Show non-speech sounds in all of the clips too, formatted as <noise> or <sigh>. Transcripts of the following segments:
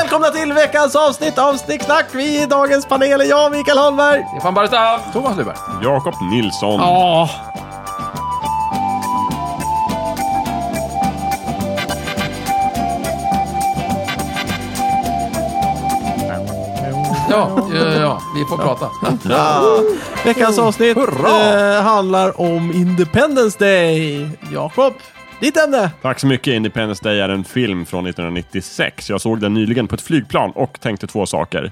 välkomna till veckans avsnitt av Snicksnack. Vi i dagens panel är jag, Mikael Holmberg. Stefan Barstam! Thomas Lyberg. Jakob Nilsson. Ja. Ja, ja, ja, vi får prata. Ja. Veckans avsnitt eh, handlar om Independence Day. Jakob, ditt ämne. Tack så mycket. Independence Day är en film från 1996. Jag såg den nyligen på ett flygplan och tänkte två saker.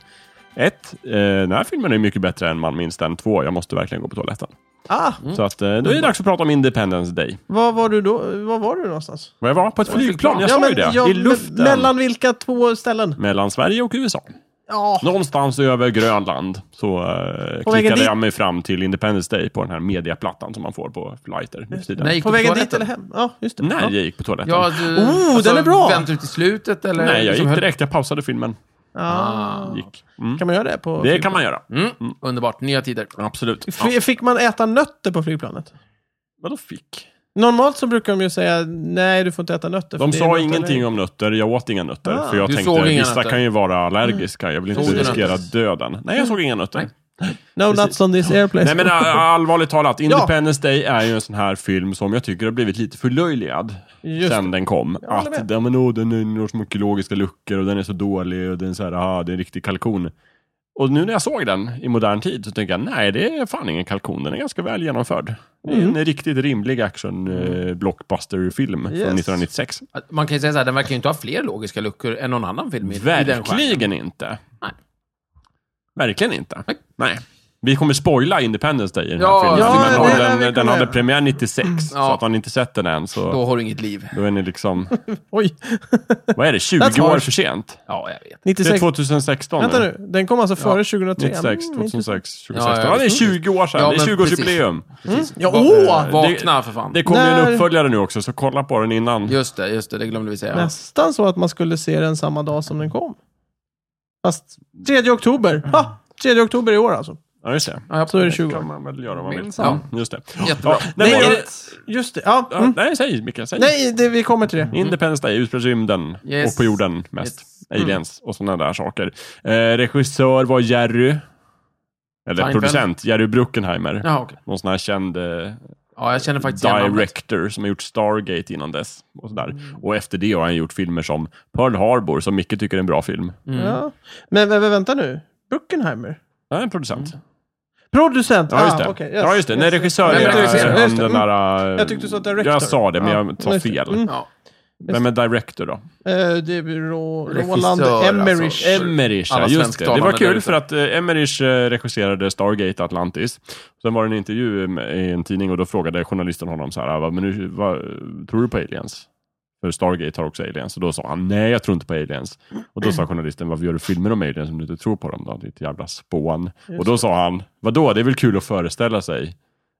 Ett, eh, den här filmen är mycket bättre än man minns den. Två, jag måste verkligen gå på toaletten. Ah, Så att, eh, då är det dags att prata om Independence Day. var var du då? Var var du någonstans? Vad jag var? På ett flygplan? Jag sa ju det. ja, I luften. me- Mellan vilka två ställen? mellan Sverige och USA. Ja, Någonstans över Grönland så eh, vägen klickade dit? jag mig fram till Independence Day på den här mediaplattan som man får på flighter nu för tiden. Nej, gick på du vägen dit toaletten? eller hem? Ja, just det. Nej, jag Eh, Ja. gick på toaletten. Ja, du, Oh, den är bra. Väntade du till slutet eller? Nej, jag liksom gick höll- direkt. Jag pausade filmen. Ah. Gick. Mm. Kan man göra det på... Det kan man göra. Mm, underbart, nya tider. Absolut. Ja. F- Fick man äta nötter på flygplanet? Vadå fick? Normalt så brukar de ju säga nej, du får inte äta nötter. för De det är sa något ingenting allergi." om nötter, jag åt inga nötter. Ah. För jag Du tänkte, såg inga vissa nötter? Mm. kan ju vara allergiska, jag vill inte Såg du riskera nötter? döden. Nej, jag såg inga nötter. Nej. No nuts on this airplane. <laughs> Nej men äh, allvarligt talat, Independence Day är ju en sån här film som jag tycker har blivit lite förlöjligad Just sen den kom. håller Att med. ja, men, åh, den är några små ekologiska luckor och den är så dålig och den är så här, aha, det är en riktig kalkon. Och nu när jag såg den i modern tid så tänker jag, nej det är fan ingen kalkon, den är ganska väl genomförd. Det är Mm. en riktigt rimlig action eh, blockbuster-film från Yes. 1996. Man kan ju säga så här, den verkar ju inte ha fler logiska luckor än någon annan film i, i den genren. Verkligen inte. Nej. Verkligen inte. Nej. Nej. Vi kommer spoila Independence Day i den här Ja, filmen. ja, men det är det den, vi den, kommer hade göra. Mm. premiär 96, så Ja. att har ni inte sett den än så Då då, har du inget liv. är ni <laughs> liksom, Oj, vad är det, 20 That's år harsh. för sent? Ja, jag vet. Det är 96. 2016 Vänta nu, den kom alltså före 2003? 96, Mm, 2006, 2016. Ja, Ja, ja, det är visst. 20 år sedan. Ja, det är men 20-årsjubileum. Precis. Ja, Va- åh! eh, Vakna för fan. Det kommer ju När- en uppföljare nu också, så kolla på den innan. Just det, just det, det glömde vi säga. Nästan så att man skulle se den samma dag som den kom. Fast 3 oktober. Mm. Ha! 3 oktober i år alltså. Ja, just det. Ja, ja, Så är det 20 kan år. man väl göra om man vill. Ja. Just det. Jättebra. Ja, nej, Nej, men, är det- Just det. Ja. ja, Mm. nej, säg Micke, säg. Nej, det, vi kommer till det. Mm-hmm. Independence Day, utspelar sig i rymden Yes. och på jorden mest. Yes. Mm. Aliens och sådana där saker. Eh, regissör var Jerry, eller Seinfeld. producent, Jerry Bruckenheimer. Jaha, okej. Någon sån här känd eh, Ja, jag känner faktiskt igen namnet. director som har gjort Stargate innan dess. Och, sådär. Mm. och efter det har han gjort filmer som Pearl Harbor, som Micke tycker är en bra Mm. film. Ja. Men vä- vä- vänta nu. Bruckenheimer? Han är en producent. Producent? Ja, just det. Mm. Ah, okej, yes, ja, just det. yes, Nej, yes. regissör Nej, men är regissör, han just det. den Mm. där... eh, Jag tyckte du sa director. Jag sa det, men jag sa Just det. fel. Mm. Ja. Vem är director då? Eh, det är Ro- Regissör, Roland alltså. Emmerich. Eh, Em- Emmerich, Alla ja, just det. svensktalande Det var där kul ute. för att eh, Emmerich eh, regisserade Stargate Atlantis. Sen var det en intervju med- i en tidning och då frågade journalisten honom så här, "Va, men nu, vad, tror du på aliens? För Stargate har också aliens. Och då sa han, nej jag tror inte på aliens. Och då sa journalisten, varför gör du filmer om aliens om du inte tror på dem då? Ditt jävla spån. och då sa han, vadå, det är väl kul att föreställa sig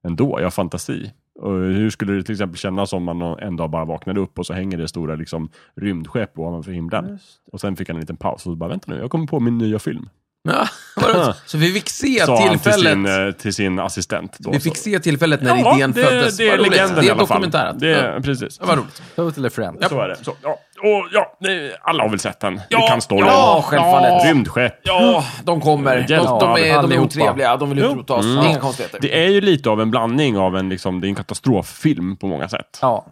ändå, jag har fantasi. Och hur skulle det till exempel kännas om man en dag bara vaknade upp och så hänger det stora liksom, rymdskepp ovanför himlen? Och sen fick han en liten paus och så bara, vänta nu, jag kommer på min nya film. Ja, <laughs> <laughs> vadå? så vi fick se Sa han till tillfället. sin, eh, till sin assistent. Då, vi fick se tillfället när idén det, föddes. Det är Vad roligt. legenden Det i är alla fall. dokumentärat. Det är, Ja, Precis. Vad roligt. Total a friend. Så är det. Så, ja. Och, ja, det- alla har väl sett den? Ja, det kan stå ja, där. självfallet. Rymdskepp. Ja, de kommer. De, Hjältar, de, är, de är allihopa. otrevliga. De vill utrota oss. Mm. Inga konstigheter. Det är ju lite av en blandning av en, liksom, det är en katastroffilm på många sätt. Ja.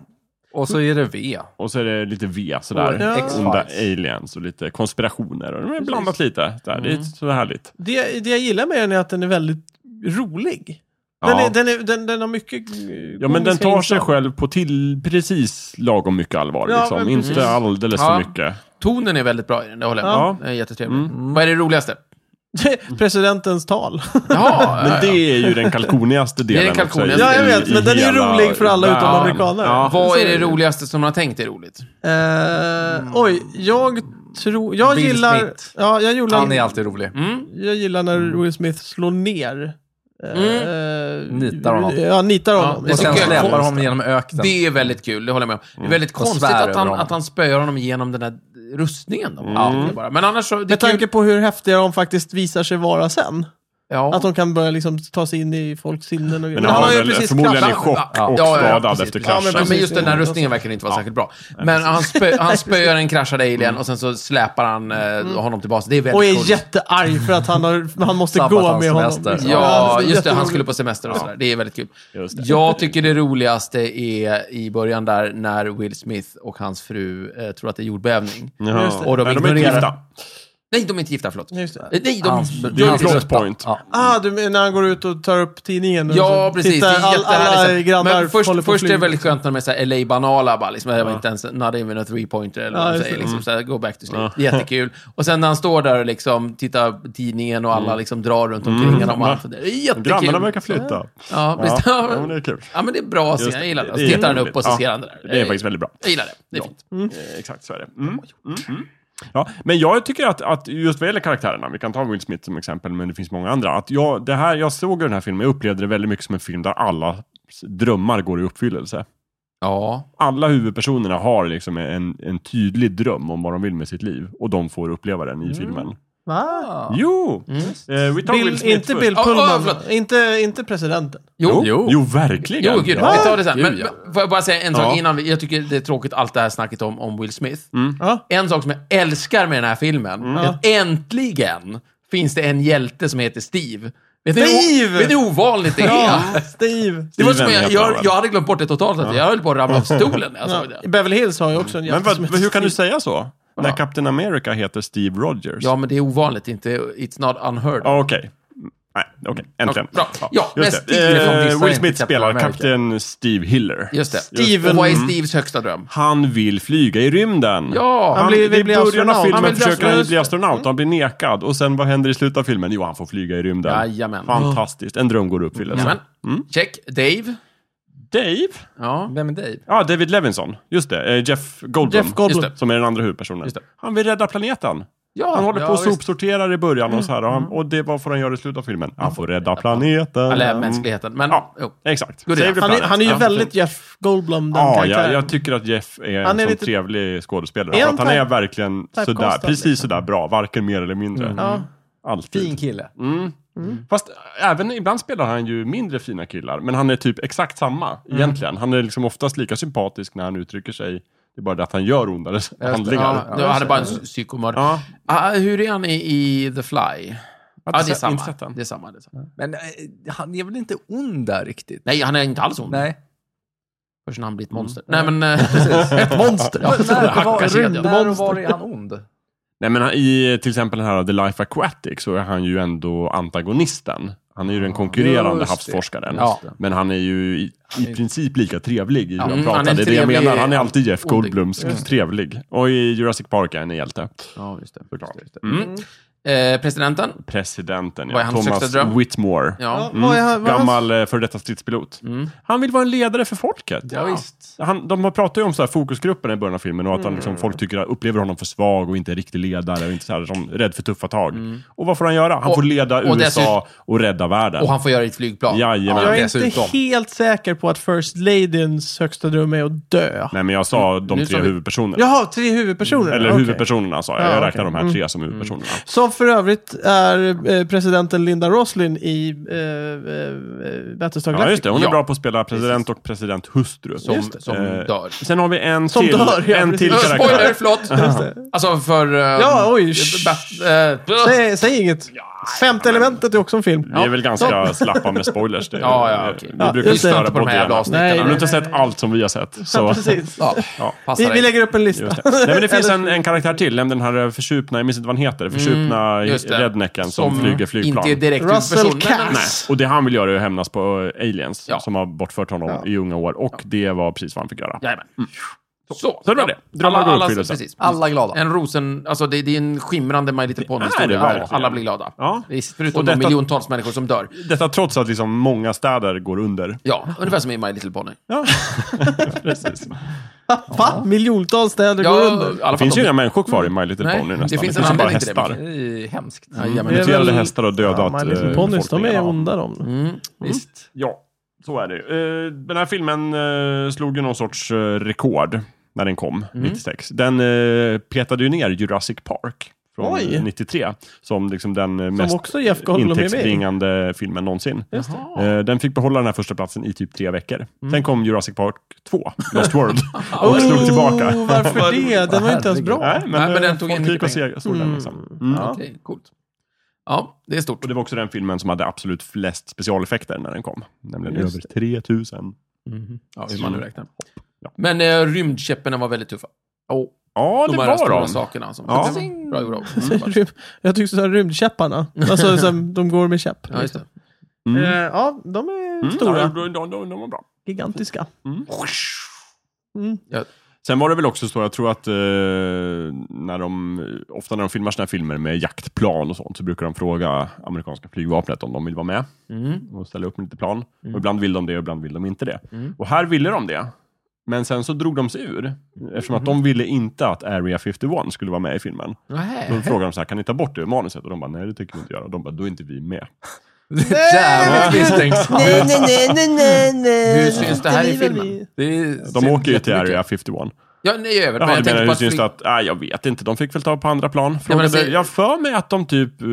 Och så är det V. Och så är det lite V Och sådär. X-Files. Onda aliens och lite konspirationer. Och de har blandat lite. Där. Mm. Det är så härligt. Det, det jag gillar med den är att den är väldigt rolig. Den, Ja. är, den, är, den, den har mycket eh, Ja, men den komiska tar sig inslag. själv på till precis lagom mycket allvar. Ja, liksom. men precis. Inte alldeles Ja. för mycket. Tonen är väldigt bra i den, det håller jag med om. Den är jättetrevlig. Mm. Vad är det roligaste? <laughs> Presidentens tal. Jaha, <laughs> Men det är ju den kalkonigaste delen. Det är kalkonigaste. också i- Ja, jag vet, i men den är ju hela rolig för alla utom världen. amerikaner. Ja. vad så är det är det. roligaste som man har tänkt är roligt? Eh, Oj, jag tror... Jag Bill gillar... Smith. Ja, jag gillar... Han är alltid rolig. Mm. Jag gillar när Will Smith slår ner. eh, Nitar honom. Ja, nitar honom. det Och sen tycker jag är släpar konstigt. honom genom Liksom. öknen. Det är väldigt kul, det håller jag med om. Mm. Det är väldigt konstigt svär att han, över honom. att han spöar honom genom den där Mm. rustningen. Då. Ja, det är bara. Men annars så... Det är Med tanke kul. på hur häftiga de faktiskt visar sig vara sen. Ja. Att de kan börja liksom ta sig in i folks sinnen och Men Ja, han var ju väl precis förmodligen i kraschat. chock Ja, och ja, ja, skadad precis. efter Ja, men, kraschen. precis. men just den där Ja, rustningen verkar inte vara särskilt bra. Men han, spö, <laughs> han spöar en kraschad alien Mm. och sen så släpar han eh, honom tillbaka. Det är väldigt Och är coolt. jättearg för att han, har, han måste Sabbat gå hans med honom. semester. Ja, är just det. Han jätteroligt. skulle på semester och sådär. Det är väldigt kul. Just det. Jag tycker det roligaste är i början där när Will Smith och hans fru eh, tror att det är jordbävning. Jaha. Just det. Och de Nej, de är inte ignorerar- gifta. Nej, de är inte gifta, förlåt. Eh, Just det. Nej, de... Hans- Det är ju en Ja. plot point. Ja. Ah, du menar när han går ut och tar upp tidningen? och Ja, så Alltså, precis. Tittar, Det är all, alla jättehärligt. grannar Men först, håller på först är det flyg. väldigt skönt när de är så här LA-banala, bara liksom, det var inte ens, not even a three-pointer, eller Ja, vad de just säger, det. Mm. liksom, så här, go back to sleep. <laughs> Jättekul. Och sen när han står där och liksom tittar på tidningen och alla liksom drar runt omkring Mm. honom. och han funderar. Det är jättekul. Grannarna verkar flytta. Ja, Ja, visst. Ja, men det är kul. Ja, men det är bra Just scen. Jag gillar det. Och det så är tittar han upp roligt. och så Ja, ser han det där. Det är faktiskt väldigt bra. Jag gillar det. Det är fint. Eh, Exakt så är det. Mm. Mm. Mm. Ja, men jag tycker att, att just vad gäller karaktärerna, vi kan ta Will Smith som exempel, men det finns många andra. Att jag, det här, jag såg den här filmen, jag upplevde det väldigt mycket som en film där alla s- drömmar går i uppfyllelse. Ja. Alla huvudpersonerna har liksom en, en tydlig dröm om vad de vill med sitt liv och de får uppleva den i Mm. filmen. Va? Ah. Jo! Eh, vi tar Will Bill, Smith inte först. Bill Ja, ja, Pullman. förlåt. Mm. inte, inte presidenten. Jo. Jo, jo, verkligen. Jo, gud. Ja. Vi tar det sen. Men, Gud, ja. men får jag bara säga en sak Ja. Mm. innan? vi- Jag tycker det är tråkigt allt det här snacket om, om Will Smith. Ja. En sak som jag älskar med den här filmen, är att äntligen finns det en hjälte som heter Steve. Vet ni hur- Steve! Vet ni hur ovanligt det är? Ja, Steve. Det var som Steven jag, heter han jag, väl? jag hade glömt bort det totalt. Att Jag höll på att ramla av stolen när jag såg det. Beverly Hills har ju också en Men jävel vad, som heter hur kan du Steve. säga så? När Captain America heter Steve Rogers? Ja, men det är ovanligt. Inte, it's not unheard of. Ja, Okej. Mm, Nej, okej. Äntligen. Okej, bra. Ja, men just Steve från det. Vissa Eh, Will är Smith inte spelar Captain kapten Steve Hiller. Just det. Steven- Och vad är Steves högsta dröm? Han vill flyga i rymden. Ja! Han Han blir- blir, vill I bli början astronaut. av Han filmen vill bli försöker han astronaut. ju bli astronaut. Han blir nekad. Och sen vad händer i slutet av filmen? Jo, han får flyga i rymden. Jajamän. Fantastiskt. En dröm går i uppfyllelse. Jajamän. Mm. Check. Dave. Dave? Ja. Vem är Dave? Ja, David Levinson. Just det. Eh, Jeff Goldblum. Jeff Goldblum. Just Som är den andra huvudpersonen. Just det. Han vill rädda planeten. ja Han håller ja, på och visst. sopsorterar i början och så här. Och, Mm. han, och det, vad får han göra i slutet av filmen? Han får rädda planeten. Eller mänskligheten. Men, Ja. jo. Exakt. Good Save idea. the Han är, planet. han är ju Ja. väldigt Jeff Goldblum, den Ja, karaktären. jag, jag tycker att Jeff är en Han är sån lite- trevlig skådespelare. Är För han att han är type- verkligen sådär, typecastad, precis liksom? Mm. sådär bra, varken mer eller mindre. Ja. Mm. Alltid. Mm. Fin kille. Fast äh, även ibland spelar han ju mindre fina killar, men han är typ exakt samma Mm. egentligen. Han är liksom oftast lika sympatisk när han uttrycker sig. Det är bara det att han gör ondare handlingar. Ja, Ja, jag hade bara en psykomörd. Ja. Ah, hur är han i, i The Fly? Ja, det är sett- samma. inte sett den. Det är samma, det är samma. Men eh, han är väl inte ond där riktigt? Nej, han är inte alls ond. Nej. Först när han blir Mm. ett monster. Nej, men... eh, <laughs> Ett Mm. monster. Ja, När, och Hacka kedjan. var, när och var är han ond? Nej, men han- i till exempel den här The Life Aquatic så är han ju ändå antagonisten. Han är ju den konkurrerande Just det. havsforskaren. Ja. Men han är ju i, i princip lika trevlig i hur han Mm, pratar. han är det är det jag trevlig- menar. Han är alltid Jeff Ondig. Goldblums trevlig. Och i Jurassic Park är han en hjälte. ja, just det. Såklart. Mm. Eh, presidenten? Presidenten, Vad är ja. hans Thomas högsta dröm? Whitmore. Ja. Mm. Vad är han- vad är han- Gammal eh, före detta stridspilot. Mm. Han vill vara en ledare för folket. Ja, visst. Han, de har pratat ju om så här fokusgrupperna i början av filmen och Mm. att han liksom, folk tycker, upplever honom för svag och inte en riktig ledare och inte så här, som, rädd för tuffa tag. Och vad får han göra? Han Mm. Och- får leda och USA dessutom- och rädda världen. Och han får göra ett flygplan. Eh, Jajamän. Jag är inte dessutom. helt säker på att First Ladyns högsta dröm är att dö. Nej, men jag sa de Mm. Nu tre sa vi- huvudpersonerna. Jaha, tre huvudpersoner. Eller Okej. huvudpersonerna sa jag. Ja, Jag okej. räknar de här Mm. tre som huvudpersonerna. Som för övrigt är eh, presidenten Linda Roslin i eh, eh, Battlestar Ja, just Galactica. det. Hon är Ja. bra på att spela president och presidenthustru. Som, Just det. som Eh, dör. Sen har vi en Som till, dör, ja, en precis. till Eh, Spoiler, karaktär. <laughs> förlåt! Alltså för... eh, Ja, oj. Bat- eh, Säg, säg inget. Femte elementet är också en film. Vi är väl ganska slappa med <laughs> spoilers. Det, Ja, ja, okej. Vi brukar Ja, ju just det. störa På de här jävla poddarna. avsnitten. Men Nej, du har inte nej, sett allt som vi har sett. Så. Precis. Ja, passa Vi, vi dig. lägger upp en lista. Just det. <laughs> Nej, men det finns <laughs> en, en karaktär till, nämligen den här försupna, jag minns inte vad han heter, försupna Mm, Just det. rednecken som, flyger flygplan. Inte är direkt Russell huvudperson, men- Cass. Nej. Och det han vill göra är att hämnas på eh, aliens Ja. som har bortfört honom i unga år. Och det var precis vad han fick göra. Jajamän. Så, Så det var det. Drömmar går i uppfyllelse. precis. Alla glada. En rosen, alltså det, det är en skimrande My Little det Pony-historia. verkligen. Ja, Alla blir glada. Ja. Visst, Förutom Och detta- de miljontals människor som dör. Detta trots att liksom många städer går under. Ja, ungefär som i My Little Pony. Ja, <laughs> precis. Va? Miljontals städer Ja, går under. i alla Det fall finns de- ju inga människor kvar i My Little Nej, Pony det nästan. finns en ju bara anledning till det, hästar. Det är ju hemskt. Jajamän. Det är Muterade väl- hästar har dödat My Little eh, Ponys, Liksom, de befolkningen. är Ja. onda de. Mm, Mm, Visst. Ja, så är det ju. Eh, Den här filmen eh, slog ju någon sorts eh, rekord när den kom, 96. Den eh, petade ju ner Jurassic Park från Oj. 93. Som liksom den eh, Som mest också Jeff Goldblum är med i. intäktsbringande filmen någonsin. Jaha. Eh, Den fick behålla den här första platsen i typ tre veckor. Sen kom Jurassic Park 2, Lost World, och slog tillbaka. Oh, varför det? Den var ju inte ens bra. Nej, men, Nej, men eh, den tog in folk gick och mycket se- såg den. Liksom. Mm. Ja. Okej, coolt. Ja, det är stort. Och det var också den filmen som hade absolut flest specialeffekter när den kom. Nämligen Just över 3000. Ja, hur man nu räknar. Ja. Men eh, rymdkäpparna var väldigt tuffa. Oh, Ja, de det här stora var de. sakerna. Som Ja. Bra Mm, gjort av <laughs> oss. Rym- Jag tyckte såhär rymdkäpparna. Alltså som, de går med käpp. Ja, just det. Eh, Mm. ja, de är Mm, stora. ja, de, de, de, de var bra. Gigantiska. Sen var det väl också så, jag tror att eh, när de, ofta när de filmar såna här filmer med jaktplan och sånt så brukar de fråga amerikanska flygvapnet om de vill vara med Mm. och ställa upp med lite plan. Och ibland vill de det och ibland vill de inte det. Mm. Och här ville de det. Men sen så drog de sig ur eftersom att de ville inte att Area 51 skulle vara med i filmen. Då Nej. frågade de så här, kan ni ta bort det ur manuset? Och de bara, nej det tänker vi inte göra. Och de bara, då är inte vi med. Jävligt <laughs> misstänksamt. Nej, nej, nej, nej, nej, nej. Hur syns det här i är väl filmen? vi. Det är De syns åker ju till jättemycket. Area 51. Ja, nej, jag vet. Men Jaha, jag du tänker på menar hur att... syns Flyg... det att, nej jag vet inte, de fick väl ta på andra plan. Frågade, alltså- Jag för mig att de typ eh,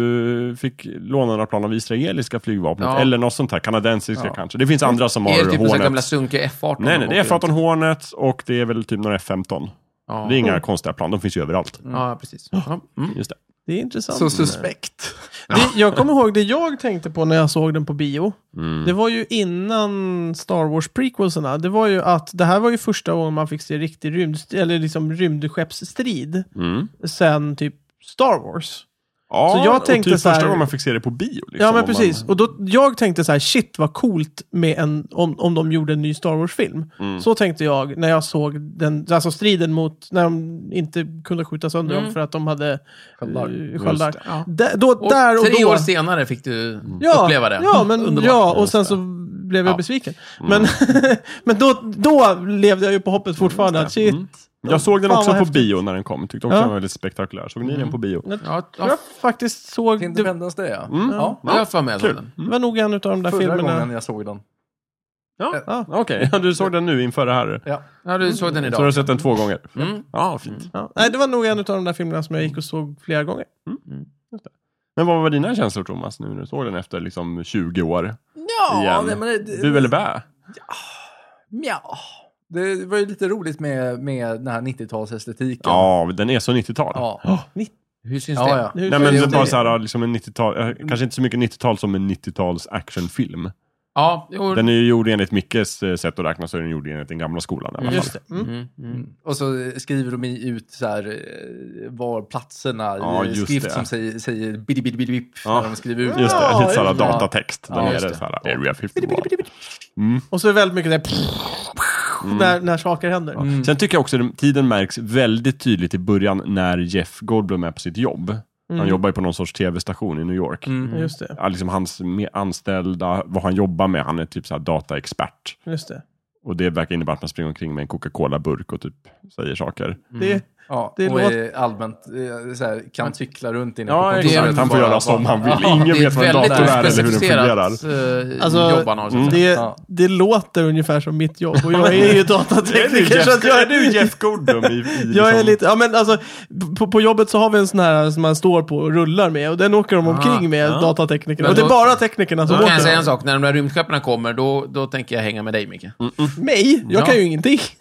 fick låna några plan av israeliska flygvapnet, Ja. eller något sånt här, kanadensiska kanske. Det finns andra som Är det har typ så här gamla Hornet. sunkiga F-18? Nej, nej, det är de åker F-18 runt? Hornet och det är väl typ några F-15. Ja. Det är inga konstiga plan, de finns ju överallt. Ja, precis. Ja. Mm. Just det. Det är intressant. Så suspekt. Det, jag kommer ihåg det jag tänkte på när jag såg den på bio. Mm. Det var ju innan Star Wars prequelserna. Det var ju att det här var ju första gången man fick se riktig rymd, eller liksom rymdskeppsstrid Mm. sen typ Star Wars. Ja, jag och tänkte typ så här- första gången man fick se det på bio. Liksom, ja, men om man- precis. Och då, jag tänkte så här, shit vad coolt med en, om, om de gjorde en ny Star Wars-film. Så tänkte jag när jag såg den, alltså striden mot, när de inte kunde skjuta sönder dem för att de hade Sköldar. Mm. eh, sköldar. Mm. Ja. Där- då, Och där och tre då. Mm. år senare fick du ja, uppleva det. Ja, men, Underbart. ja och sen så blev jag Ja. besviken. Men, <laughs> men då, då levde jag ju på hoppet fortfarande. att shit, Jag såg den Fan, också vad på häftigt. bio när den kom. Tyckte också Ja. den var väldigt spektakulär. Såg ni den på bio? Ja, Jag ja, faktiskt såg... Det, det Independence Day, ja. Mm. ja. jag var med Kul. den. var nog en av de där Förra gången filmerna. jag såg den. Ja, Ja. okej. <laughs> Ja, Du såg den nu inför det här. Ja. Ja, du såg den Så har idag. du sett den två gånger? Mm. Ja, fint. Ja. Nej, det var nog en av de där filmerna som jag gick och såg flera gånger. Men vad var dina känslor Thomas, nu när du såg den efter liksom 20 år? Ja, Igen. nej, men det, det, Bu eller bä? Mja. Det var ju lite roligt med, med den här 90-talsestetiken. Ja, den är så 90-tal. Ja. Hur syns Ja, det? ja. Hur Nej känns men det det? är bara så här, liksom en 90-tal, eh, kanske inte så mycket 90-tal som en 90-tals actionfilm. Ja, jo. Den är ju gjord enligt Mickes eh, sätt att räkna så är den gjord enligt den gamla skolan. i alla fall. Just det. Mm. Mm, mm. Mm. Och så skriver de i- ut så här, eh, var platserna Ja, i just skrift det. som säger, säger bidi bidi bidi bip Ja. när de skriver ut Just det, Ja, lite såhär just det. datatext. Där Ja, nere just det. det. såhär, Area 51. Och så är det väldigt mycket det Mm. när, när saker händer. Sen tycker jag också att tiden märks väldigt tydligt i början när Jeff Goldblum är på sitt jobb. Han jobbar ju på någon sorts tv-station i New York. Mm. Just det. Ja, liksom hans med- anställda, vad han jobbar med, han är typ så här dataexpert. Just det. Och det verkar innebära att man springer omkring med en Coca-Cola-burk och typ säger saker. Mm. det Ja, Det och låter- är allmänt eh, så här, kan cykla runt inne Ja, på exakt. kontoret. Han får Bara- göra som han vill. Ja, Ingen det är vet vad en väldigt dator är eller hur den fungerar. specificerat, eh, Alltså, jobb han har, så att säga. det, Ja. det låter ungefär som mitt jobb <laughs> och jag är ju datatekniker. så att jag är du Jeff Goldblum? I, i <laughs> Jag är liksom- lite, ja men alltså, på, på jobbet så har vi en sån här som man står på och rullar med och den åker Ah, de omkring med, datateknikerna. Men Och det är då- bara teknikerna som Då kan jag åker. säga en den. sak. När de där rymdskeppen kommer, då, då tänker jag hänga med dig, Micke. Mm. Mig? Jag Ja. kan ju ingenting. <laughs>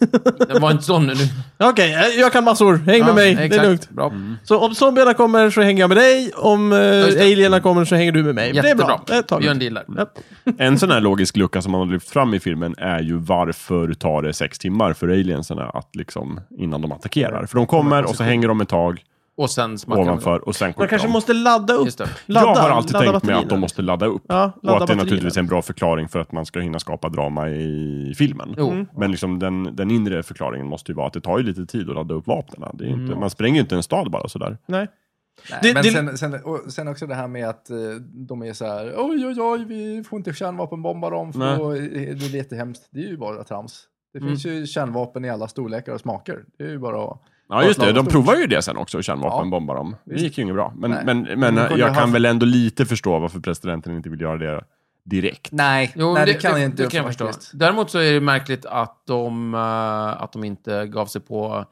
Det var inte sån nu. Okej, eh, jag kan massor. Häng Ja, med mig, det exakt. är lugnt. Mm. Bra. Så om zombierna kommer så hänger jag med dig, om eh, just det. alienerna kommer så hänger du med mig. Det är Jättebra. bra. Det tar Vi vi. gör en deal där. Ja. En sån här logisk lucka som man har lyft fram i filmen är ju varför tar det sex timmar för aliensarna att liksom, innan de attackerar? För de kommer och så hänger de ett tag Och sen smackar vi. ovanför och sen Man skjuter kanske de. måste ladda upp. Just det. Ladda, jag har alltid ladda tänkt mig att de batterierna. måste ladda upp. och Ja, ladda att det är batterierna. naturligtvis en bra förklaring för att man ska hinna skapa drama i filmen. Jo. Mm. Men liksom den, den inre förklaringen måste ju vara att det tar ju lite tid att ladda upp vapnen. Det är ju inte, Man spränger ju inte en stad bara sådär. Nej. Nej, Det- men det- Sen, sen, och sen också det här med att eh, de är så här, oj, oj, oj, vi får inte kärnvapenbomba dem, för Nej. då är det är jättehemskt. Det är ju bara trams. Det finns ju kärnvapen i alla storlekar och smaker. Det är ju bara att... Ja just det, Lagom de stort. provar ju det sen också, kärnvapen bombar dem. Det gick ju inget bra. Men, Nej. men, men Men de kunde jag kan haft- väl ändå lite förstå varför presidenten inte vill göra det direkt. Nej, Jo, nej det, kan jag inte. Det kan jag förstå. faktiskt. Däremot så är det märkligt att de, eh, att de inte gav sig på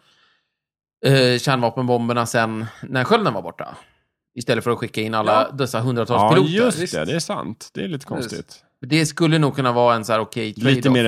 eh, kärnvapenbomberna sen när skölden var borta. Istället för att skicka in alla dessa hundratals Ja, piloter. just det. Det är sant. Det är lite konstigt. Det skulle nog kunna vara en så här okej trade-off. Lite mer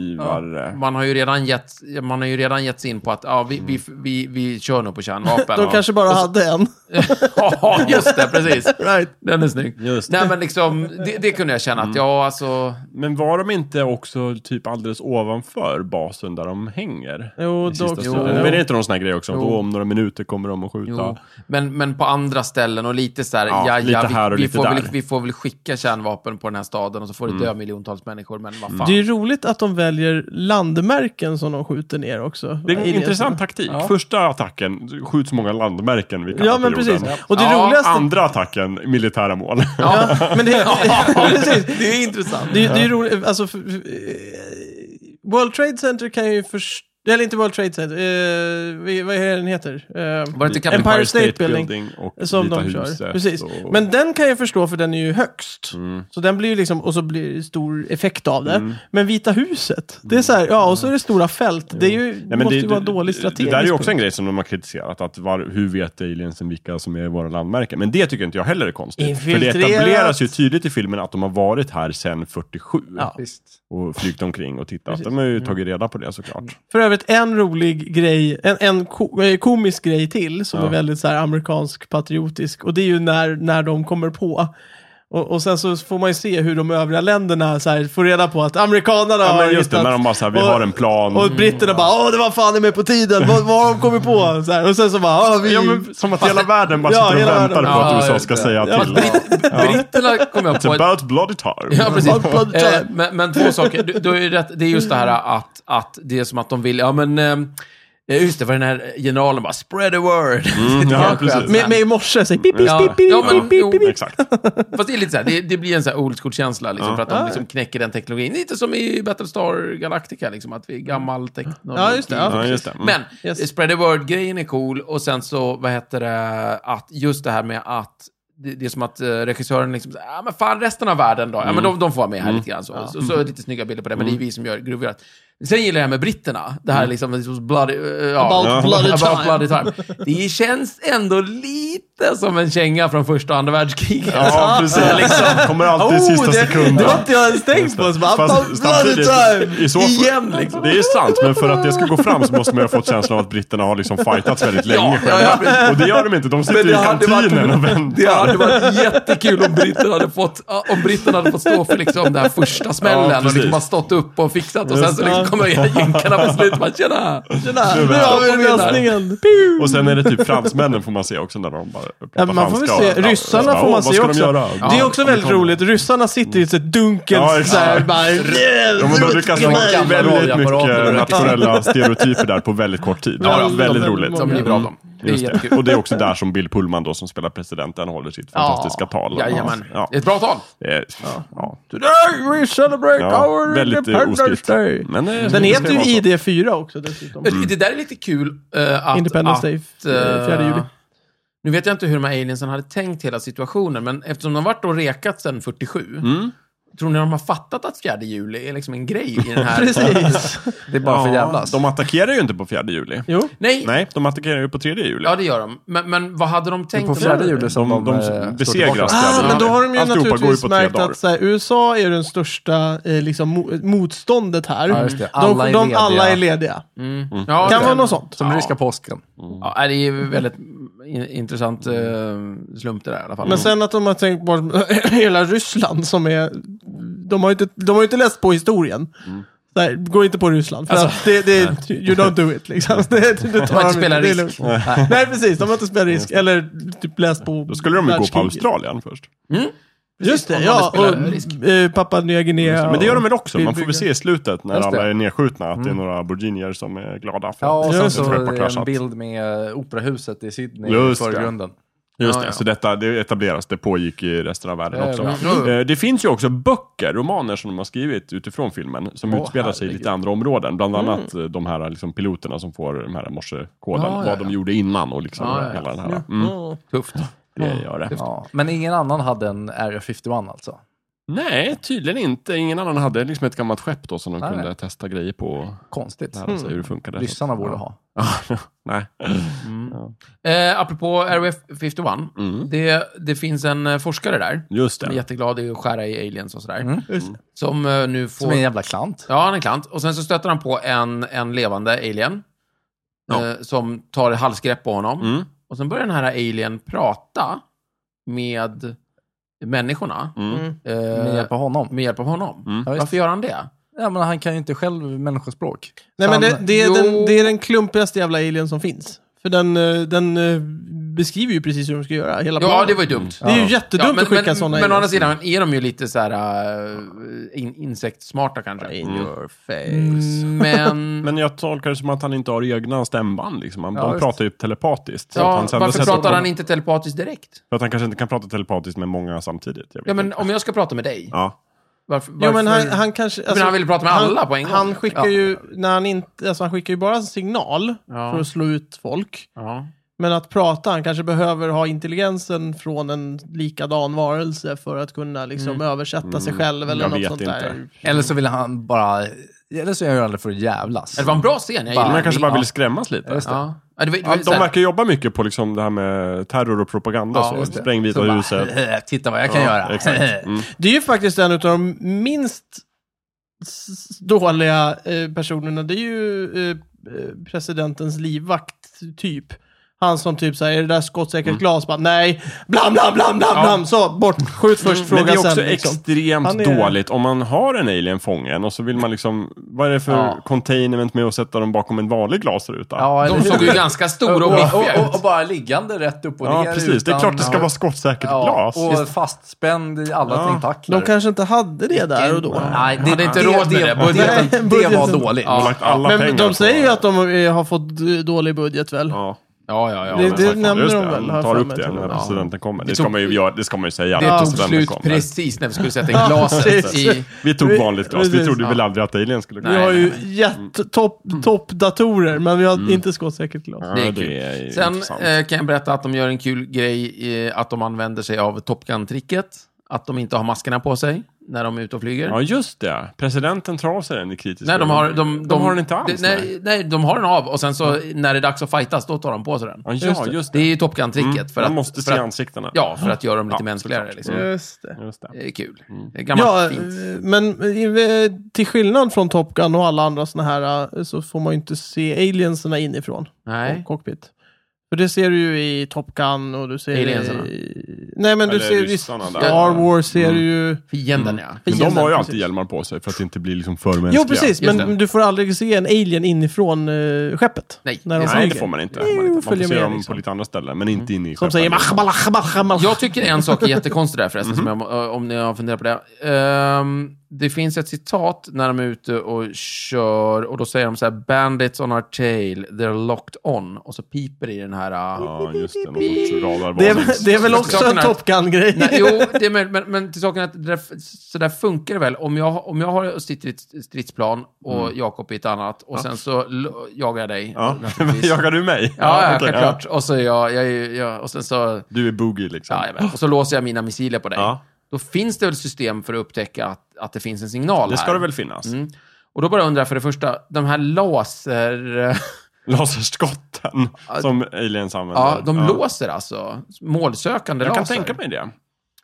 effektivare. Man har ju redan gett, man har ju redan gett sig in på att ja, vi, vi, Mm. vi, vi kör nog på kärnvapen. De kanske bara hade en. <laughs> ja, just det, precis. Right. Den är snygg. Just Nej, men liksom, det, det kunde jag känna Mm. att ja, alltså... Men var de inte också typ alldeles ovanför basen där de hänger? Jo, I sista dock- stunden. jo. Men det är inte någon sån här grej också? Jo. Då om några minuter kommer de att skjuta. Jo, men, men på andra ställen och lite så här, Ja, ja, ja, lite vi, här och vi, lite får där. Mm. väl, vi får väl skicka kärnvapen på den här staden och så får det dö miljontals människor, men vad fan. Det är ju roligt att de väljer landmärken som de skjuter ner också. Det är en I intressant taktik. Ja. Första attacken, skjut så många landmärken vi kan Ja, på men jorden. precis. Och det Ja, roligaste... Andra attacken, militära mål. Ja, <laughs> men det, <laughs> precis. Det är intressant. Det, är- det är ju roligt, alltså... För, för, eh, World Trade Center kan ju först... Eller inte World Trade Center, eh, vi- vad är det den heter? Eh, Var det inte Captain Empire Pirates? State Building och som Vita de kör. huset Precis. och- Mm. Men den kan jag förstå för den är ju högst. Så den blir ju liksom, och så blir det stor effekt av det. Men Vita huset, det är så här, ja och så är det stora fält. Det är ju, Mm. Nej, men måste det- ju vara det- dålig strategisk Det där är ju också en punkt. grej som de har kritiserat. Att var, hur vet aliensen vilka som är våra landmärken? Men det tycker inte jag heller är konstigt. För det Infiltrerat. etableras ju tydligt i filmen att de har varit här sedan 47. Ja. Visst. Och flygt omkring och tittat. De har ju tagit reda på det såklart. För övrigt en rolig grej, en, en ko, eh, komisk grej till som Ja. är väldigt så här amerikansk patriotisk. Och det är ju när, när de kommer på. Och, och sen så får man ju se hur de övriga länderna så här, får reda på att amerikanerna Ja, har men just det, hittat- när de bara såhär, vi och- har en plan. Och britterna bara åh det var fan är med på tiden, vad, vad har de kommit på? Så här, och sen så bara åh vi... ja, men, som att Fast hela det- världen bara Ja, sitter och hela väntar världen. på att Ja, USA just ska det. säga Ja, till. britt, britterna kom jag på. <laughs> It's about bloody time. Ja, Blood, blood, precis. Eh, blood. men, men två saker. Du, du har ju rätt. Det är just det här att, att det är som att de vill, ja men, eh, just det, för den här generalen bara, spread the word. <laughs> Mm, ja, Det är skönt. precis. Med, med i morse, så här, pip, pip, Ja. pip, pip, Ja, men- pip, pip, pip, pip. Exakt. Fast det är lite så här, det, det blir en så här old school-känsla, liksom, för att de liksom knäcker den teknologin. Lite som i Battlestar Galactica, liksom, att vi är gammal teknologi. Ja, just det, ja. Ja, just det. Mm. Men Yes. eh, spread the word-grejen är cool, och sen så, vad heter det, att just det här med att det, det är som att eh, regissören liksom, så här, ah, men fan resten av världen då? Ja, Mm. men de, de får vara med här lite grann. Så, så, så är det lite snygga bilder på det, men det är vi som gör gruvgörat. Sen gillar jag med britterna, det här liksom, liksom bloody, eh, ja, Mm. About Ja. <laughs> bloody About time. bloody time. Det känns ändå lite som en känga från första och andra världskriget. Ja, <laughs> precis. Kommer alltid i sista liksom. Oh, det, sekunden. det var inte jag ens tänkt på. Så bara, Fast Fast, bloody samtidigt, time! i så fall- Igen liksom. Det är sant, men för att det ska gå fram så måste man ju ha fått känslan av att britterna har liksom fightats väldigt Ja, länge ja, själva. ja, Och det gör de inte, de sitter Men i det hade varit- kantinen och väntar. Det hade varit jättekul om britterna hade fått, ja, om britterna hade fått stå för liksom den här första smällen Ja, och precis. liksom har stått upp och fixat och sen så liksom Ja. kommer jänkarna på slutet och bara tjena. Tjena, nu har vi Kom igen. lösningen. Pew! Och sen är det typ fransmännen får man se också när de bara pratar Ja, men man får väl franska. se. Ja, Ryssarna bara, får "Åh, man se Vad ska också. de göra? det är Ja, också väldigt roligt. Ryssarna sitter i ett dunkelt Ja, så här, exakt. bara... Ja, men de lyckas Det var ha gamla väldigt radioapparater mycket och nationella stereotyper där på väldigt kort tid. Ja, ja. väldigt de- roligt. Mm. De blir bra de. Det är Just jättekul. det. Och det är också där som Bill Pullman då, som spelar presidenten, håller sitt fantastiska tal. Jajamän. Ja. Eh, Ett bra tal. Det är- Ja. Today we celebrate Ja, our väldigt eh, independence oskrift. day. Men, eh, Den det heter ska vara så. ju ID4 också dessutom. Mm. Det där är lite kul eh, att... Independence Day, att, eh, 4 juli. Nu vet jag inte hur de här aliensen hade tänkt hela situationen, men eftersom de varit och rekat sedan 47, Mm. tror ni de har fattat att 4 juli är liksom en grej i den här... <laughs> Precis. Det är bara för jävlas. De attackerar ju inte på fjärde juli. Jo. Nej, Nej, de attackerar ju på tredje juli. Ja, det gör de. Men, men vad hade de tänkt? på om- fjärde juli som de- de, de eh, står besegras. tillbaka. Ah, Ja, men då har de ju alltihopa går ju naturligtvis på tre märkt dagar. att så här, USA är den största eh, liksom, mo- motståndet här. Ja, just det. de, Alla är de, lediga. Mm. alla är lediga. Ja, Kan det- vara något sånt. Som ryska påsken. Ja, det är ju väldigt in, intressant eh, slump det där i alla fall. Men sen att de har tänkt bort <laughs> hela Ryssland som är... De har ju inte, de har ju inte läst på historien. Mm. Nej, gå inte på Ryssland. För att det, det, you don't do it liksom. <laughs> Det, det Alltså, Mm. de har tar inte spelat det är risk. Mm. lugnt. <laughs> Nej, precis. De har inte spelat risk. Eller typ läst på Då skulle de ju gå på världskriget. Australien först. Just det, Om de ja. hade spelat Och risk. eh, Papua Nya Guinea. Mm. Men det gör de och- väl också? Man får väl se i slutet när Just det. alla är nedskjutna att det är några aboriginier som är glada för Ja, och sen Just så Trump har är det en kraschat. bild med eh, operahuset i Sydney Just i det. förgrunden. Just Ja, det, ja. så detta det etableras, det pågick i resten av världen Ja, också. ja. Mm. Eh, Det finns ju också böcker, romaner som de har skrivit utifrån filmen som Åh, utspelar sig i lite andra områden. Bland Mm. annat eh, de här liksom, piloterna som får de här morsekoden, Ja, ja, vad ja. de gjorde innan och liksom Ja, ja, ja. hela den här. Ja. Mm, Ja. Tufft. det gör det. Ja. Men ingen annan hade en Area 51 alltså? Nej, tydligen inte. Ingen annan hade liksom ett gammalt skepp då som de Nej, kunde nej. testa grejer på och Konstigt. Mm. lära Hmm. sig hur det funkade. Ryssarna borde ha. Ja, <laughs> nej. Eh, apropå Area 51. Mm. Det, det finns en eh, forskare där. Just Som är det. jätteglad i att skära i aliens och sådär. Mm. Just det. Som eh, nu får... Som är en jävla klant. Ja, han är klant. Och sen så stöter han på en, en levande alien. Ja. Eh, som tar ett halsgrepp på honom. Mm. Och sen börjar den här alien prata med människorna. Mm. Mm. eh, Med hjälp av honom. med hjälp av honom. Mm. Ja, visst. Varför gör han det? Ja, men han kan ju inte själv människospråk. Nej, Så men det, han- det, är Jo. den, det är den klumpigaste jävla alien som finns. För den, eh, den eh, beskriver ju precis hur de ska göra, hela Ja, planen. det var ju dumt. det är ju Ja. jättedumt Ja, men, att skicka men, sådana men å andra sidan är de ju lite så här eh, in, insektsmarta kanske. Mm. In your <laughs> face. Men, <laughs> Men jag tolkar det som att han inte har egna stämband. Liksom. Han, Ja, de just. pratar ju telepatiskt. så att ja, han sen varför sätter pratar på- han inte telepatiskt direkt? För att han kanske inte kan prata telepatiskt med många samtidigt. Jag vet Ja, men inte. om jag ska prata med dig, ja. varför? Jo, men han, varför- han kanske... alltså, men han ville prata med alla på en gång. Han skickar Ja. ju, när han inte, alltså han skickar ju bara en signal Ja. för att slå ut folk. Ja. Men att prata, han kanske behöver ha intelligensen från en likadan varelse för att kunna liksom Mm. översätta sig själv eller Mm. Jag något vet sånt inte. där. Eller så vill han bara... Eller så gör han det för att jävlas. Det var en bra scen, jag Bara- gillar Men han kanske bara Ja. vill skrämmas lite. Just det. Ja. Ja, det var, det var Ja, ju de så här- verkar jobba mycket på liksom det här med terror och propaganda. Ja, så. just det. "Äh, Spräng Vita Så bara, <laughs> huset. Titta vad jag kan göra. exakt. Mm. Det är ju faktiskt en av de minst s- s- dåliga eh, personerna. Det är ju eh, eh, presidentens livvakt, typ. Han som typ säger är det där skottsäkert Mm. glas? Bara, nej, blam, blam, blam, blam, Ja. blam. Så, bort. Skjut först, fråga Men det är också sen. Liksom. extremt Han är- dåligt om man har en alien fången och så vill man liksom, vad är det för Ja. containment med att sätta dem bakom en vanlig glasruta? Ja, eller De hur? såg ju ganska och, stora och, och miffiga och, ut. och bara liggande rätt upp och Ja, ner. precis. Det är klart det ska vara skottsäkert ja, glas. Och fastspänd i alla Ja. tentakler. De kanske inte hade det där och då. Nej, Hade inte råd med det. budgeten- <laughs> Nej, det var budgeten- dåligt. Och Ja. lagt alla pengar Men de på- säger ju att de eh, har fått eh, dålig budget väl? Ja, Ja, ja, ja. Det- men- det- exakt. nämner Just de väl, har De jag tar för upp mig, det tror när jag. presidenten kommer. Det Det ska tog- man ju, göra, det ska man ju säga. Det när tog presidenten slut kommer. precis när vi skulle sätta Ja, in glaset precis. i... Vi tog Vi- vanligt glas. Vi precis. trodde väl Ja. aldrig att alien skulle gå. Vi Nej, har nej, ju Mm. jättetopp- toppdatorer, men vi har inte skottsäkert glas. Ja, Det är kul. det är ju Sen intressant. eh, kan jag berätta att de gör en kul grej, i, att de använder sig av Top Gun-tricket. Att de inte har maskerna på sig när de är ute och flyger. Ja, just det. Presidenten tar av sig den i kritisk Nej, de har, de, de, de har den inte alls. de- nej. nej, nej, de har den av och sen så när det är dags att fightas, då tar de på sig den. Ja, just det. Just Det är ju Top Gun-tricket. Mm. För Man att, måste för se att, ansiktena. Ja, för att göra dem lite Ja, mänskligare. såklart. Liksom. Mm. Just det. Just det. Det är kul. Det är Ja, gammalt fint. eh, men eh, till skillnad från Top Gun och alla andra såna här eh, så får man ju inte se alienserna inifrån. Nej. På cockpit. För det ser du ju i Top Gun och du ser Alienserna. i... Nej men du Eller ser ju i ryssarna där. Star Wars Mm. ser du ju... Fienden, ja. Men de har ju alltid precis. hjälmar på sig för att inte bli liksom för mänskliga. Jo precis, men det. du får aldrig se en alien inifrån eh, skeppet. Nej, när de det är Nej, flyger. det får man inte. Jo, man får följer se med, dem liksom. på Mm. lite andra ställen, men inte inne i Som säger mach, malach, malach, malach. Jag tycker en sak är jättekonstig där förresten, som jag, eh, om ni har funderat på det. Ehm, det finns ett citat när de är ute och kör och då säger de så här “Bandits on our tail, they're locked on” och så piper det i den här... äh, Ja, just det. Någon sorts det, radarvarning. är, det är väl också en Top Gun-grej? Nej, jo, det är möjligt, men, men till saken är att det där, så där funkar det väl. Om jag, om jag har och sitter i ett stridsplan och Jakob i ett annat och sen så l- jagar jag dig. Ja. <laughs> naturligtvis. ja, Jagar du mig? ja, okej, självklart. Och så är jag, jag, är ju- jag, och sen så... Du är boogie liksom. Ja, jag vet. Och så låser jag mina missiler på dig. Ja. Då finns det väl system för att upptäcka att, att det finns en signal Det ska här. det väl finnas. Mm. Och då bara undrar jag för det första, de här <laughs> laser... eh, Laserskotten Ja. som aliens använder. Ja, de låser alltså? Målsökande Jag kan laser? tänka mig det.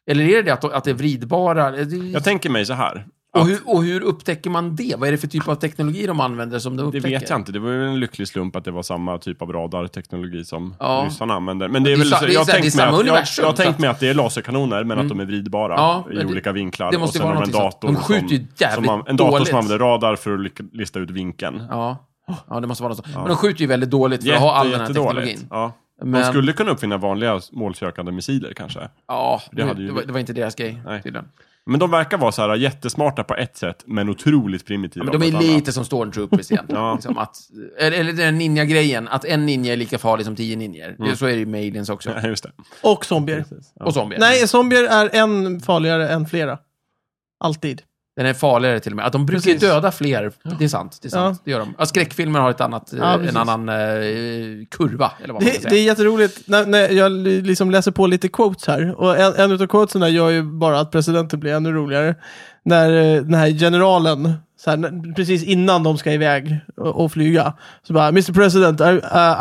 Eller är det att, att det är vridbara? Det- Jag tänker mig så här. Och hur, och hur upptäcker man det? Vad är det för typ av teknologi de använder som de Det upptäcker? vet jag inte. Det var ju en lycklig slump att det var samma typ av radarteknologi som Ja. ryssarna använder. Men det är Det är väl sa- så, det är jag har så här, tänkt det är mig samma att, jag, universum, jag så har tänkt att- Mm. mig att det är laserkanoner, men att de är vridbara Ja, i men det- olika vinklar. det måste och ju vara har de en någonting dator, sånt. De skjuter ju som, jävligt som an- En dator dåligt. som använder radar för att lycka- lista ut vinkeln. Ja. ja, det måste vara något sånt. Men de skjuter ju väldigt dåligt för Jätte, att ha all den här jättedåligt. teknologin. Ja. Men- De skulle kunna uppfinna vanliga målsökande missiler kanske. Ja, det, Det hade ju- var, det var inte deras grej Nej. tydligen. Men de verkar vara så här jättesmarta på ett sätt, men otroligt primitiva Men de på är ett <laughs> annat. lite som stormtroopers igen. <laughs> Ja. liksom att, eller, eller den ninja-grejen, att en ninja är lika farlig som tio ninjor. Mm. Det- Så är det ju med aliens också. Nej, just det. <laughs> Och zombier. Och zombier. Nej, zombier är en farligare än flera. Alltid. Den är farligare till och med. Att de brukar ju Precis. döda fler. Det är sant. Det, är sant. det gör de. Ja, skräckfilmer har ett annat, eh, Ja, precis. en annan eh, kurva, eller vad man Det, ska det är säga. jätteroligt när, när jag li- liksom läser på lite quotes här. Och en, en av quotesen här gör ju bara att presidenten blir ännu roligare. När eh, den här generalen, så här, när- precis innan de ska iväg och, och flyga, så bara Mr President, I, uh,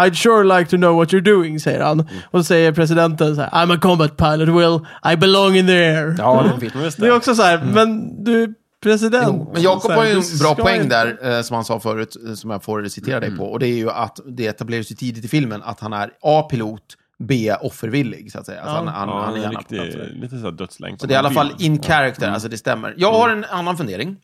I'd sure like to know what you're doing, säger han. Mm. Och så säger presidenten så här, I'm a combat pilot, Will. I belong in the air. Ja, det är fint. Det är också så här, men du är president. Men Jakob Så här, har ju du en bra ska poäng inte- Mm. där, eh, som han sa förut, eh, som jag får citera dig på. Och det är ju att det etableras ju tidigt i filmen att han är A. Pilot, B. Offervillig, så att säga. Alltså Ja. han, han, Ja, han är en gärna riktig, på plats. lite såhär dödslängd. Så det är i alla fall in character, Mm. alltså det stämmer. Jag har en annan fundering.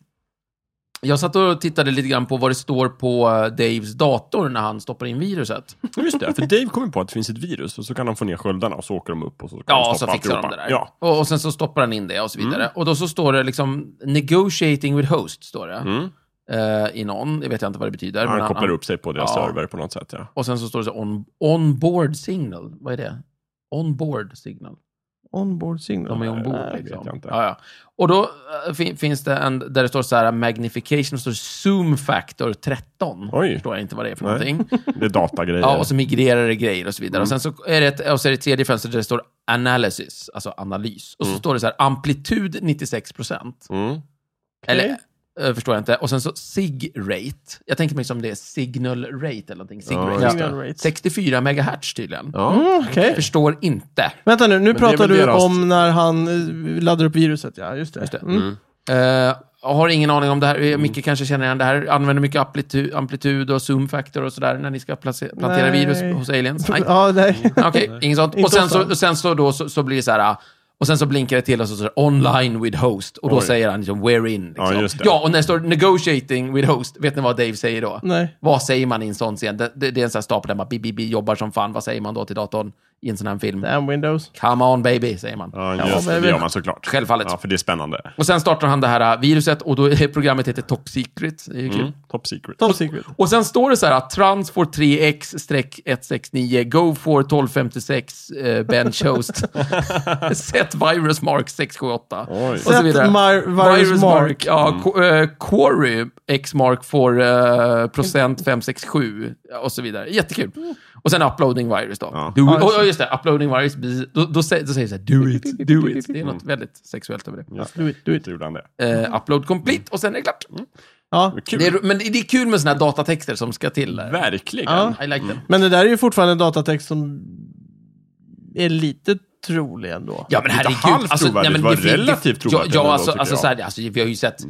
Jag satt och tittade lite grann på vad det står på eh, Daves dator när han stoppar in viruset. Ja, Just det, för Dave kommer på att det finns ett virus och så kan han få ner sköldarna och så åker de upp och så kan Ja, han och stoppa så fixar de alltihopa. det där. Ja. Mm. Och, och sen så stoppar han in det och så vidare. Och då så står det liksom “negotiating with host” står det. Mm. Eh, I någon, det vet jag inte vad det betyder. men Han kopplar upp sig på deras Ja. server på något sätt. Ja. Och sen så står det så on, onboard signal. Vad är det? Onboard signal. Onboard signal. De är ombord Nej, det vet liksom. jag inte. Ja, ja. Och då eh, fin, finns det en där det står så här magnification, och så står det zoom factor 13. Oj. Förstår jag inte vad det är för Nej. Mm. någonting. Det är datagrejer. Ja, och så migrerar det grejer och så vidare. Och sen så är det, ett, och så är det ett tredje fönster där det står analysis, alltså analys. Och så står det så här amplitud 96 procent. mm. Eller, eh, förstår jag inte. Och sen så sig rate. Jag tänker mig som det är signal rate eller någonting. Sig Ja, rate. just Signal rate. 64 megahertz tydligen. Ja. Mm, okej. Förstår inte. Vänta nu, nu det är pratar väl du deras- om när han eh, laddar upp viruset, ja. Just det. det. Mm. Eh, jag har ingen aning om det här. Eh, Micke kanske känner igen det här. Använder mycket amplitud, amplitud och zoom factor och sådär när ni ska place- plantera Nej. virus hos aliens. Nej. <laughs> Ja, nej. Okej, inget sånt. Inte Och sen, oss så, då. och sen så, då, så, så blir det så här... ah, Och sen så blinkar det till och så står det online with host. Och då Oj. säger han liksom we're in. Liksom. Ja, just det. ja, och när det står negotiating with host, vet ni vad Dave säger då? Nej. Vad säger man i en sån scen? Det, det, det är en sån här stapel där man bi, bi, bi, jobbar som fan. Vad säger man då till datorn i en sån här film? Damn Windows. Come on baby, säger man. Ja, just det. Det gör man såklart. Självfallet. Ja, för det är spännande. Och sen startar han det här eh, viruset och då är <laughs> programmet heter Top Secret. Det är ju kul. Mm. Top secret. Top secret. Och sen står det så här att trans for 3x-169, go for 1256, eh, bench <laughs> host, set virus mark 678. Oj. Mm. Och så vidare. Set mar- virus mark. Ja, qu- eh, query x mark for eh, procent 567 ja, och så vidare. Jättekul. Och sen uploading virus då. Ja. Do Ja, it. just Och, och just det, uploading virus. Då, då, säger, då säger det så här, do it, do it. Det är Mm. något väldigt sexuellt över det. Ja. Do it, do it. Så gjorde han det. Eh, upload complete och sen är det klart. Ja. Kul. Det är, men det är kul med såna här datatexter som ska till. eh. Verkligen. Ja. I like them. Men det där är ju fortfarande en datatext som är lite trolig ändå. Ja, men Lite herregud. alltså, halvt trovärdigt, men var det fin- det- relativt trovärdigt Ja, ja ändå, alltså, tycker alltså, jag. så här, alltså, vi har ju sett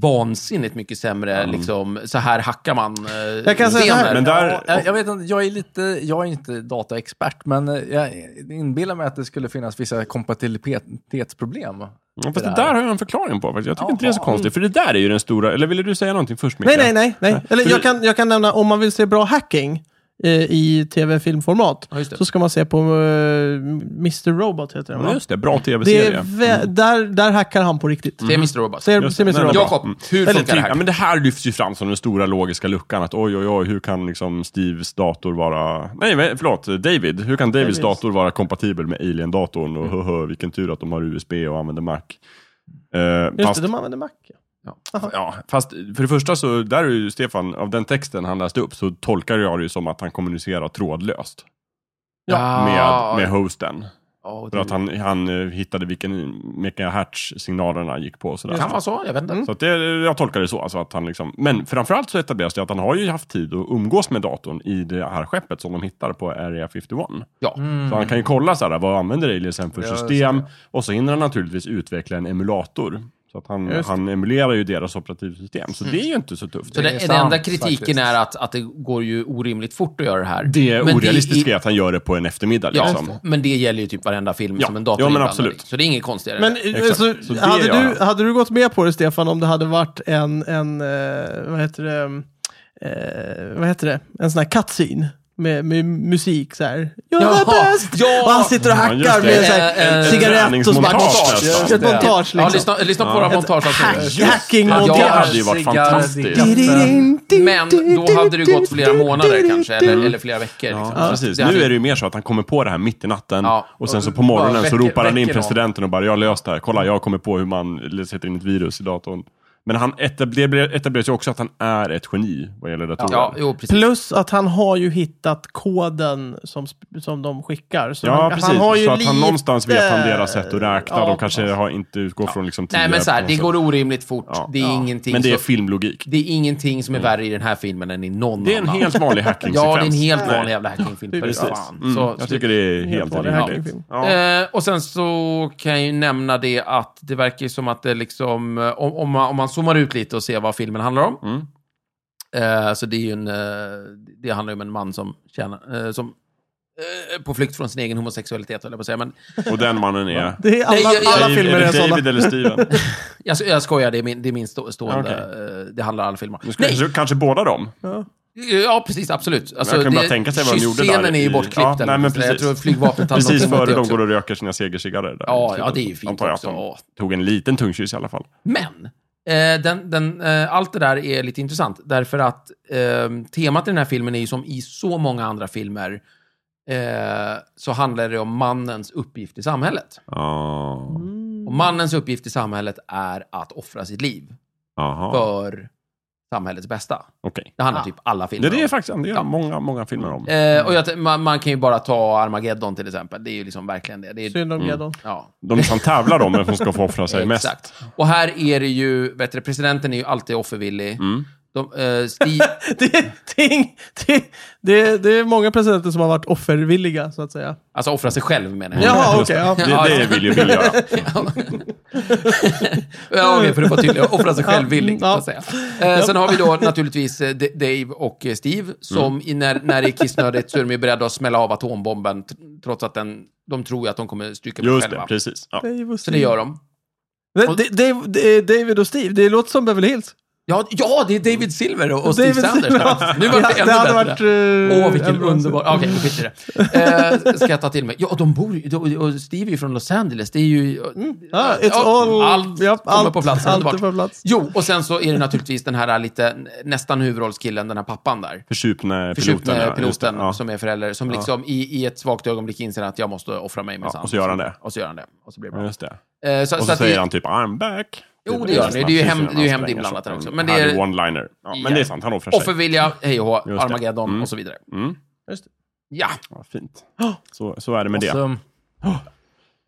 vansinnigt mycket sämre, liksom, så här hackar man eh, Jag kan säga så här, Men där... Ja, jag, jag vet inte, jag är lite, jag är inte dataexpert, men eh, jag inbillar mig att det skulle finnas vissa kompatibilitetsproblem. Ja, fast det det där. där har jag en förklaring på. faktiskt. Jag tycker inte det är så Jaha. konstigt. För det där är ju den stora... Eller ville du säga någonting först, Micke? nej, nej, nej, nej. Eller För jag det- kan, jag kan nämna, om man vill se bra hacking eh, i tv-filmformat Ja, just det. så ska man se på eh, Mr. Robot, heter den Ja, va? just det. Mm. Bra Det är tv-serie. vä- där, där hackar han på riktigt. Det är Mm. Mr. Robot. Se, Just se det. Nej, Mr. Robot. nej, Jakob, hur Eller funkar typ, det ja, här? men det här lyfts ju fram som den stora logiska luckan. Att oj, oj, oj, hur kan liksom Steves dator vara... Nej, men, förlåt. David. Hur kan Davids Davids. dator vara kompatibel med Alien-datorn? Och höhö, vilken tur att de har USB och använder Mac. Eh, Just fast, det, de använder Mac. ja. ja, fast för det första så, där är ju Stefan, av den texten han läste upp så tolkar jag det ju som att han kommunicerar trådlöst Ah, med, med hosten. Ja, För att han, han eh, hittade vilken megahertz signalerna gick på. och Sådär. det kan vara så, jag vet inte. Så att det, jag tolkar det så. Alltså att han liksom, men framförallt så etableras det att han har ju haft tid att umgås med datorn i det här skeppet som de hittar på Area 51. Ja. Så han kan ju kolla så här, vad använder aliensen för Ja, system? Och så hinner han naturligtvis utveckla en emulator. Så att han, Just det. han emulerar ju deras operativsystem. Så det är ju inte så tufft. Så Det den, är den enda sant, kritiken faktiskt. är att, att det går ju orimligt fort att göra det här. Det Men orealistiska är- är att han gör det på en eftermiddag. Ja, Liksom. men det gäller ju typ varenda film Ja. som en dator Ja, men är inblandad absolut. i. Så det är inget konstigare. Men eh, Exakt. så, Så det hade, gör du, han. hade du gått med på det Stefan om det hade varit en, en eh, vad heter det, eh, vad heter det, en sån här cutscene med, med musik så här. Jag Ja, är bäst! ja. Och han sitter och hackar just det. med så här, Eh, eh, cigarett och så bara... träningsmontage Ett nästan. montage Ja, liksom. lyssna, lyssna på våra montage hack- alltså. Hackingmontage. Ja, Det hade ju varit fantastiskt. Men då hade det gått flera månader kanske, eller, eller flera veckor. Liksom. Ja, precis. Det hade- Nu är det ju mer så att han kommer på det här mitt i natten Ja. och sen så på Och morgonen bara så väcker- ropar han in väcker någon. presidenten och bara jag har löst det här. Kolla, jag har kommit på hur man sätter in ett virus i datorn. Men han etabler- etableras ju också att han är ett geni vad gäller datorer. Ja, jo, precis. Plus att han har ju hittat koden som, sp- som de skickar. Så Ja, han, precis. han har ju så att lite... han någonstans vet han deras sätt att räkna. Ja, de kanske har inte utgår från liksom Nej, men så här, det tidigare går orimligt fort. Ja. Det är Ja. ingenting Men det är som- filmlogik. Det är ingenting som är värre i den här filmen än i någon Det är en annan. helt vanlig hackingsekvens. Ja, det är en helt Nej. vanlig jävla hackingfilm. för Precis. fan. Mm, Så- jag tycker det är helt Helt vanlig rimligt. hackingfilm. Ja. Eh, och sen så kan jag ju nämna det att det verkar ju som att det liksom, eh, om, om, man, om man zoomar ut lite och ser vad filmen handlar om. Mm. Eh, så det är ju en, eh, det handlar ju om en man som tjänar, eh, som eh, på flykt från sin egen homosexualitet, höll jag på att säga. Men Och den mannen är... Det är alla, Nej, jag- jag- alla Dave- filmer är det sådana. David eller Steven? jag, jag skojar, det är min, det är min stå, stående, Okej. eh, det handlar om alla filmer. Nu ska Nej, eh, kanske, kanske båda dem. Ja, precis. Absolut. Alltså, jag kan det- bara tänka sig vad de gjorde där Kyssscenen är ju i- bortklippt. Ja, eller nej, men något sånt där. jag precis. tror flygvapnet hade Precis någonting emot före det de också. går och röker sina segercigarrer. där. typ, Ja, ja, det är ju fint Antar jag att också. de Ja. tog en liten tung kyss i alla fall. Men, eh, den, den, eh, allt det där är lite intressant. Därför att eh, temat i den här filmen är ju som i så många andra filmer, eh, så handlar det om mannens uppgift i samhället. Ja. Mm, Och mannens uppgift i samhället är att offra sitt liv Aha. för samhällets bästa. Okej. Det handlar typ alla Det, filmer det är om. faktiskt en del, Ja. många, många filmer om. Eh, Mm. och jag, t- man, man kan ju bara ta Armageddon till exempel. Det är ju liksom verkligen det. det är, Synd om Geddon. ja, De som tävlar om vem som ska få offra <laughs> sig mest. Exakt. Och här är det ju, vet du, presidenten är ju alltid offervillig. Mm. De, eh, <laughs> Steve, <laughs> Det, det, det, det, det är många presidenter som har varit offervilliga, så att säga. alltså offra sig själv menar jag. Jaha, Just okej. det, Ja, ja. <laughs> det ja. vill ju vi göra. ja, okej, för att vara <laughs> tydlig. Offra sig själv villig, så att säga. Eh, sen har vi då naturligtvis eh, D- Dave och eh, Mm. Steve, som i, när, när det är kissnödigt så är de ju beredda att smälla av atombomben, t- trots att den, de tror ju att de kommer stryka med Just det, själva. precis. Ja. Dave och så det Steve. gör de. Men det- Dave- det- David och Steve, det låter som Beverly Hills. Ja, ja det är David Silver och, och Steve David Sanders. Silver. Nu var det <laughs> Ja, ännu hade bättre. varit... eh, Åh, vilken en bra- underbar... Okej, okay, skit i det. Eh, ska jag ta till mig? Ja, och de bor ju... de- Och Steve är ju från Los Angeles. Det är ju... mm. Ja, Ah, it's Ja, all... allt ja, kommer på plats. Allt är Underbart. på plats. Jo, och sen så är det naturligtvis den här lite, nästan huvudrollskillen, den här pappan där. Försupne piloten. Förskjutne ja, just det. piloten Ja. som är förälder, som liksom i, i ett svagt ögonblick inser att jag måste offra mig minsann. och så gör han det. Och så gör han det. Och så blir det Ja, bra. Just det. Eh, så, Och så så att säger det- han typ I'm back. Jo, det gör han. Det är ju hem- det är ju hem inblandat där också. Men det är- one-liner. Ja, men det är sant, han offrar sig. Offervilja, hej och hå, det. Armageddon Mm. och så vidare. Mm. Just det. Ja. Ja, fint. Så, så är det med det. Alltså,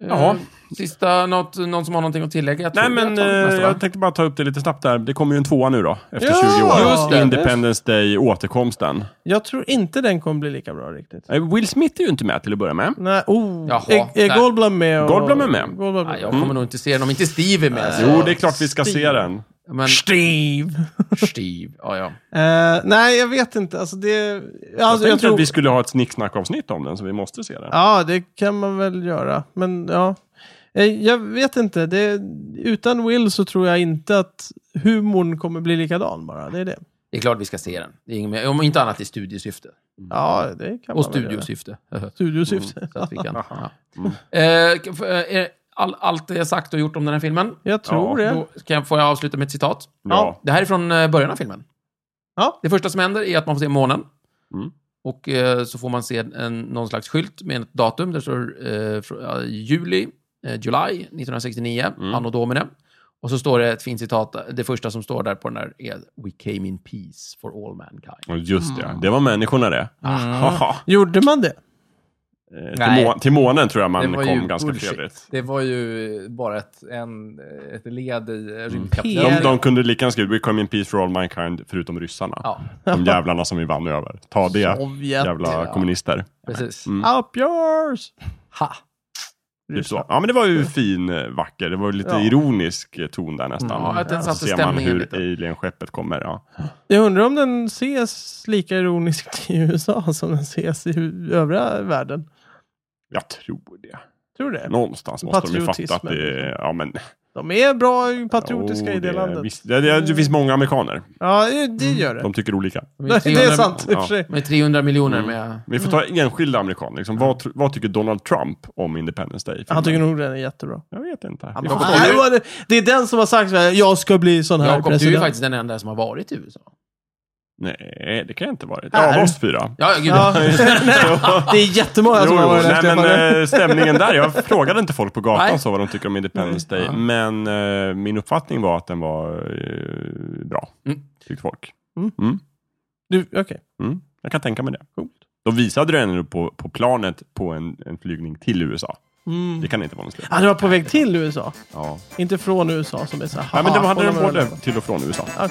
Jaha. Eh, Sista, något, någon som har någonting att tillägga? Jag Nej tror men vi har tagit eh, nästa, va? jag tänkte bara ta upp det lite snabbt där. Det kommer ju en tvåa nu då, efter Ja, 20 år. just det. Independence Day, återkomsten. Jag tror inte den kommer bli lika bra riktigt. Eh, Will Smith är ju inte med till att börja med. Nej, oh. Jaha, är är nej. Goldblum med? Och... Goldblum är med. Goldblum är Nej, med. jag kommer nog inte se den om inte Steve är med. Mm. Jo, det är klart vi ska se Steve. den. Men Steve! Steve, ja ja. Eh, nej, jag vet inte. Alltså det... Jag Alltså, tänkte jag tror... att vi skulle ha ett snicksnackavsnitt om den, så vi måste se den. Ja, det kan man väl göra. Men ja, Eh, jag vet inte. Det, utan Will så tror jag inte att humorn kommer bli likadan bara. Det är det. Det är klart vi ska se den. Det är inget mer. Om inte annat i studiesyfte. Mm. Ja, det kan Och man väl göra. studiosyfte. Studiosyfte. Så att vi <laughs> kan... ja. Mm. Eh, för, eh, är all, allt jag sagt och gjort om den här filmen. <laughs> Jag tror Ja, det. Då ska jag, får jag avsluta med ett citat. Ja. Det här är från eh, början av filmen. Ja. Det första som händer är att man får se månen. Mm. Och eh, så får man se en, någon slags skylt med ett datum. Där står eh, fr- eh, juli, eh, July 1969, Mm. anno domine. Och så står det ett fint citat. Det första som står där på den där är We came in peace for all mankind. Och Just det, det var människorna det. Haha. Gjorde man det? Eh, Till, Nej. må- till månen tror jag man var kom ju ganska bullshit. fredligt. det var ju bara ett, en, ett led i Mm. rymdkapitlet. De, de kunde lika ganska We come in peace for all mankind, förutom ryssarna. Ja, De jävlarna som vi vann över. Ta det, Sovjet. jävla kommunister. Precis. Up yours! Ha. Typ så. Ja, men det var ju fin, eh, vacker. Det var ju lite Ja. Mm. ironisk eh, ton där nästan. Ja, att den så satte ser man stämningen hur lite. alien-skeppet kommer. Ja. Jag undrar om den ses lika ironiskt <laughs> i USA som den ses i hu- övriga världen. Jag tror det. Tror du det? Någonstans måste de ju fatta att Patriotismen. det är... Ja, men De är bra patriotiska Jo, i det, landet. Mm. visst. Det, det, det finns många amerikaner. Ja, det- det gör det. Mm. De tycker olika. Nej, <laughs> det är sant. Mm. i och för sig. Med 300 miljoner med... Vi får ta enskilda amerikaner. Liksom, vad, tr- vad tycker Donald Trump om Independence Day? Han tycker nog den är jättebra. Jag vet inte. Ja, Vi men får fan, kolla. det, var det, det är den som har sagt så här, jag ska bli sån här Jakob, du är ju president. faktiskt den enda som har varit i USA. Nej, det kan jag inte vara. "Ah." Här. Ja, av oss fyra. Ja, ja, gud. <laughs> Ja, <laughs> nej, Alltså, det är jättemånga Jo, som har jo, varit nej, efter men, men eh, stämningen där. Jag frågade inte folk på Nej. gatan så vad de tycker om Independence Day. Ja. Men eh, min uppfattning var att den var eh, bra. Mm. Tyckte folk. Du, okej. Mm. Jag kan tänka mig det. De visade den ändå på, på planet på en, en flygning till USA. Mm. Det kan inte vara någon slump. Han var på väg till USA, Ja. inte från USA som är så här. Nej, men de "Haha, hade kolla den vad både är." till och från USA. Mm.